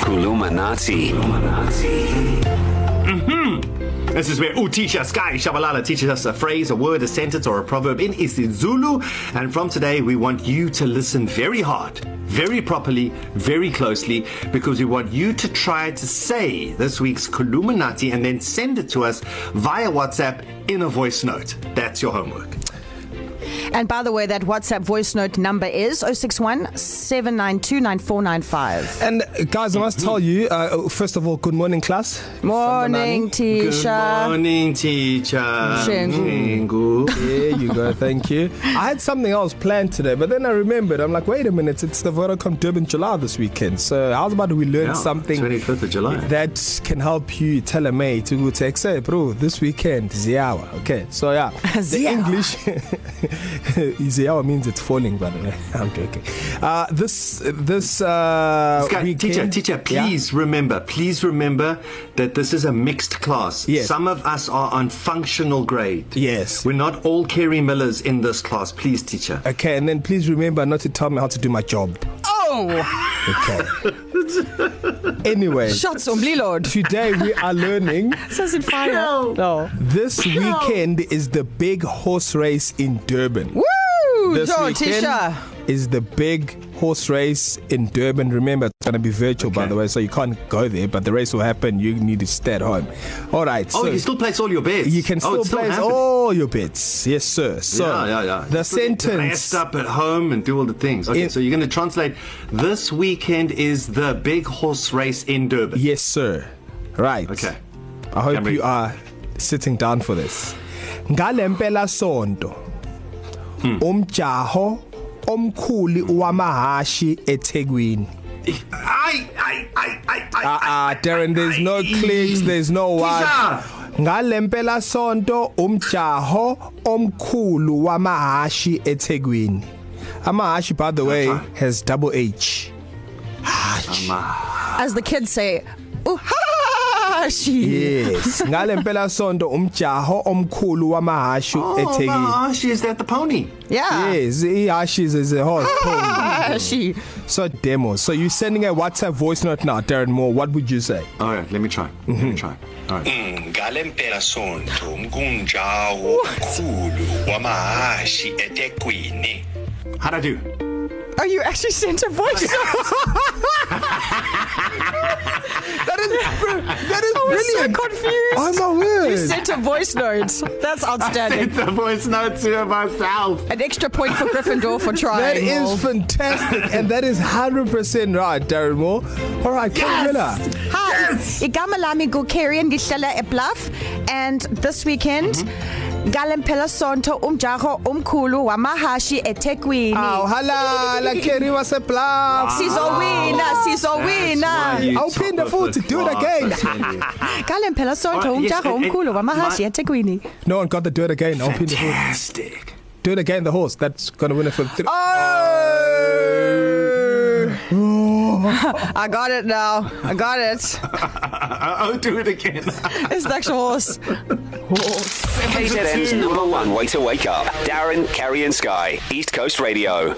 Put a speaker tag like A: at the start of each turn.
A: Kulumanati.
B: This is where Utisha Sky Shabalala teaches us a phrase, a word, a sentence, or a proverb in isiZulu. And from today, we want you to listen very hard, very properly, very closely, because we want you to try to say this week's Kuluminati and then send it to us via WhatsApp in a voice note. That's your homework.
C: And by the way, that WhatsApp voice note number is 061 792 9495.
D: And uh, guys, I must tell you, uh, first of all, good morning, class.
C: Morning,
B: Good
C: Tisha.
B: morning, teacher.
C: Shengu.
B: Shengu.
D: There you go, thank you. I had something else planned today, but then I remembered. I'm like, wait a minute, it's the Vodacom Durban July this weekend. So how about we learn
B: Yeah,
D: something
B: 25th of July.
D: that can help you tell a mate to take say, bro, this weekend ziyawa. Okay, so yeah, the
C: Ziyawa.
D: English ziyawa means it's falling. By the way, I'm joking. Uh, this this uh,
B: Sky,
D: weekend,
B: teacher, teacher,
D: Yeah?
B: please remember, please remember that this is a mixed class.
D: Yes.
B: Some of us are on functional grade.
D: Yes. Uh,
B: We're not all Kerry Millers in this class. Please, teacher.
D: Okay, and then please remember not to tell me how to do my job. Oh! Okay. anyway,
C: Shots on Lord.
D: today we are learning
C: Doesn't fire. No.
D: this weekend is the big horse race in Durban.
C: Woo!
D: This
C: Yo,
D: weekend
C: Tisha.
D: is the big horse race in Durban. Remember, it's going to be virtual, okay. by the way, so you can't go there, but the race will happen. You need to stay at home. All right.
B: Oh,
D: so
B: you can still place all your bets.
D: you can
B: oh,
D: still
B: it's
D: place
B: happening.
D: all your bets. Yes, sir. So
B: yeah, yeah, yeah.
D: the
B: You still get to
D: sentence.
B: Rest up at home and do all the things. Okay,
D: It-
B: so you're going to translate. This weekend is the big horse race in Durban.
D: Yes, sir. Right.
B: Okay.
D: I hope
B: Camry.
D: you are sitting down for this. Ngalempela sonto.
B: Hmm.
D: Umjaho omkhulu wamahashi eThekwini.
B: I, I, I, I, I.
D: Ah, uh, Darren, there's no clicks, there's no what.
B: Tisha!
D: Ngalempela sonto umjaho omkhulu wamahashi eThekwini. Amahashi by the way
B: Okay.
D: has double H. Hash.
C: As the kids say, uhashi.
D: Yes. Ngalempela sonto umjaho omkhulu wamahashi
B: Oh, my
D: eThekwini.
B: gosh, is that the pony?
C: Yeah.
D: Yes, Ashes is a horse.
C: Uhashi.
D: so demo. So you're sending a WhatsApp voice note now, Darren Moore. What would you say?
B: All right, let me try. Let me try. All right.
E: ngalempelasonto mkunjawo omkhulu wamahashi etekwini
B: How'd I do?
C: Oh, you actually sent a voice note.
D: That is that is
C: I was so
D: brilliant.
C: confused.
D: Oh my
C: You
D: word!
C: sent a voice note. That's outstanding.
B: It's a voice note to myself.
C: An extra point for Gryffindor for trying.
D: That
C: Will.
D: is fantastic, and that is hundred percent right, Darren Moore. All right, Camilla.
C: Hi, yes. igama lami nguKarian ngihlala eBluff and this weekend mm-hmm. Galampela Sonto umjaho omkhulu wamahashi eThekwini.
D: Aw, hala, la Kerry was a blast.
C: Sizowina,
B: Oh,
C: sizowina.
D: I'll pin the foot to do it again.
C: Galampela Sonto
B: Alright, yes,
C: umjaho
B: and- and
C: omkhulu wamahashi
B: my-
C: eThekwini.
D: No one got the do it again. I'll pin the foot.
B: Fantastic.
D: Do it again. The horse. That's gonna win it for three. Oh.
C: I got it now. I got it.
B: I'll Uh, oh, do it again.
C: It's the actual horse.
A: KZN's number one way to wake up. Darren, Kerry, and Sky. East Coast Radio.